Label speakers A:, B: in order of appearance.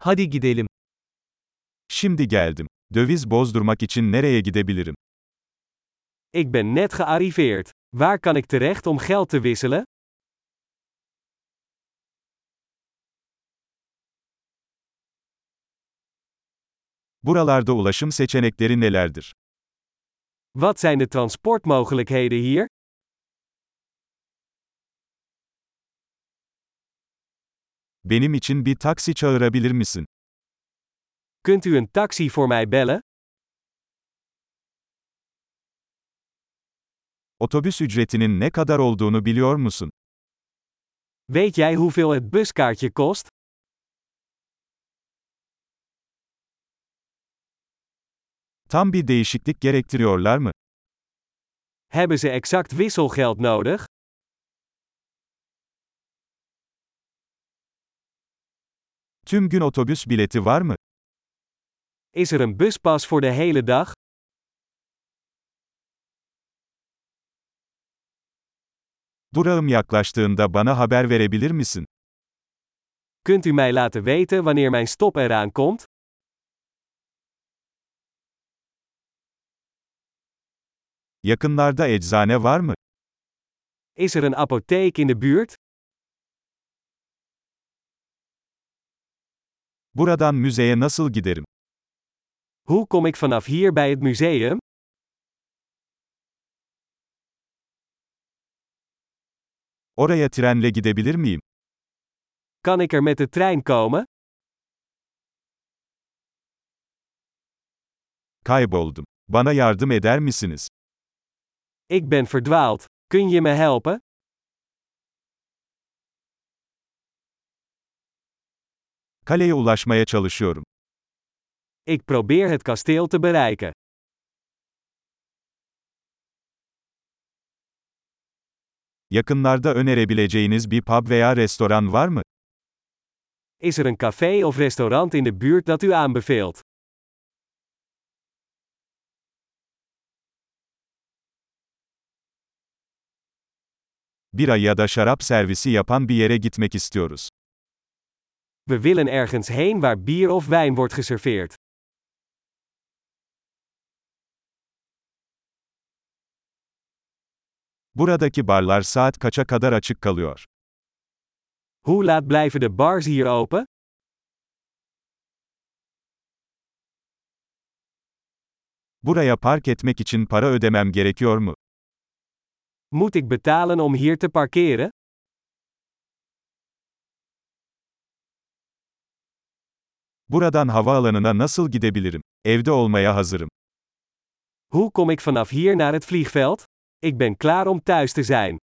A: Hadi gidelim.
B: Şimdi geldim. Döviz bozdurmak için nereye gidebilirim?
A: Ik ben net gearriveerd. Waar kan ik terecht om geld te wisselen?
B: Buralarda ulaşım seçenekleri nelerdir?
A: Wat zijn de transportmogelijkheden hier?
B: Benim için bir taksi çağırabilir misin?
A: Kunt u een taxi voor mij bellen?
B: Otobüs ücretinin ne kadar olduğunu biliyor musun?
A: Weet jij hoeveel het buskaartje kost?
B: Tam bir değişiklik gerektiriyorlar mı?
A: Hebben ze exact wisselgeld nodig?
B: Tüm gün otobüs bileti var mı?
A: Is er een buspas voor de hele dag?
B: Durağım yaklaştığında bana haber verebilir misin?
A: Kunt u mij laten weten wanneer mijn stop eraan komt?
B: Yakınlarda eczane var mı?
A: Is er een apotheek in de buurt?
B: Buradan müzeye nasıl giderim?
A: Hoe kom ik vanaf hier bij het museum?
B: Oraya trenle gidebilir miyim?
A: Kan ik er met de trein komen?
B: Kayboldum. Bana yardım eder misiniz?
A: Ik ben verdwaald. Kun je me helpen?
B: Kaleye ulaşmaya çalışıyorum.
A: Ik probeer het kasteel te bereiken.
B: Yakınlarda önerebileceğiniz bir pub veya restoran var mı?
A: Is er een café of restaurant in de buurt dat u aanbeveelt?
B: Bira ya da şarap servisi yapan bir yere gitmek istiyoruz.
A: We willen ergens heen waar bier of wijn wordt geserveerd.
B: Buradaki barlar saat kaça kadar açık kalıyor?
A: Hoe laat blijven de bars hier open?
B: Buraya park etmek için para ödemem gerekiyor mu?
A: Moet ik betalen om hier te parkeren?
B: Buradan havaalanına nasıl gidebilirim? Evde olmaya hazırım.
A: Hoe kom ik vanaf hier naar het vliegveld? Ik ben klaar om thuis te zijn.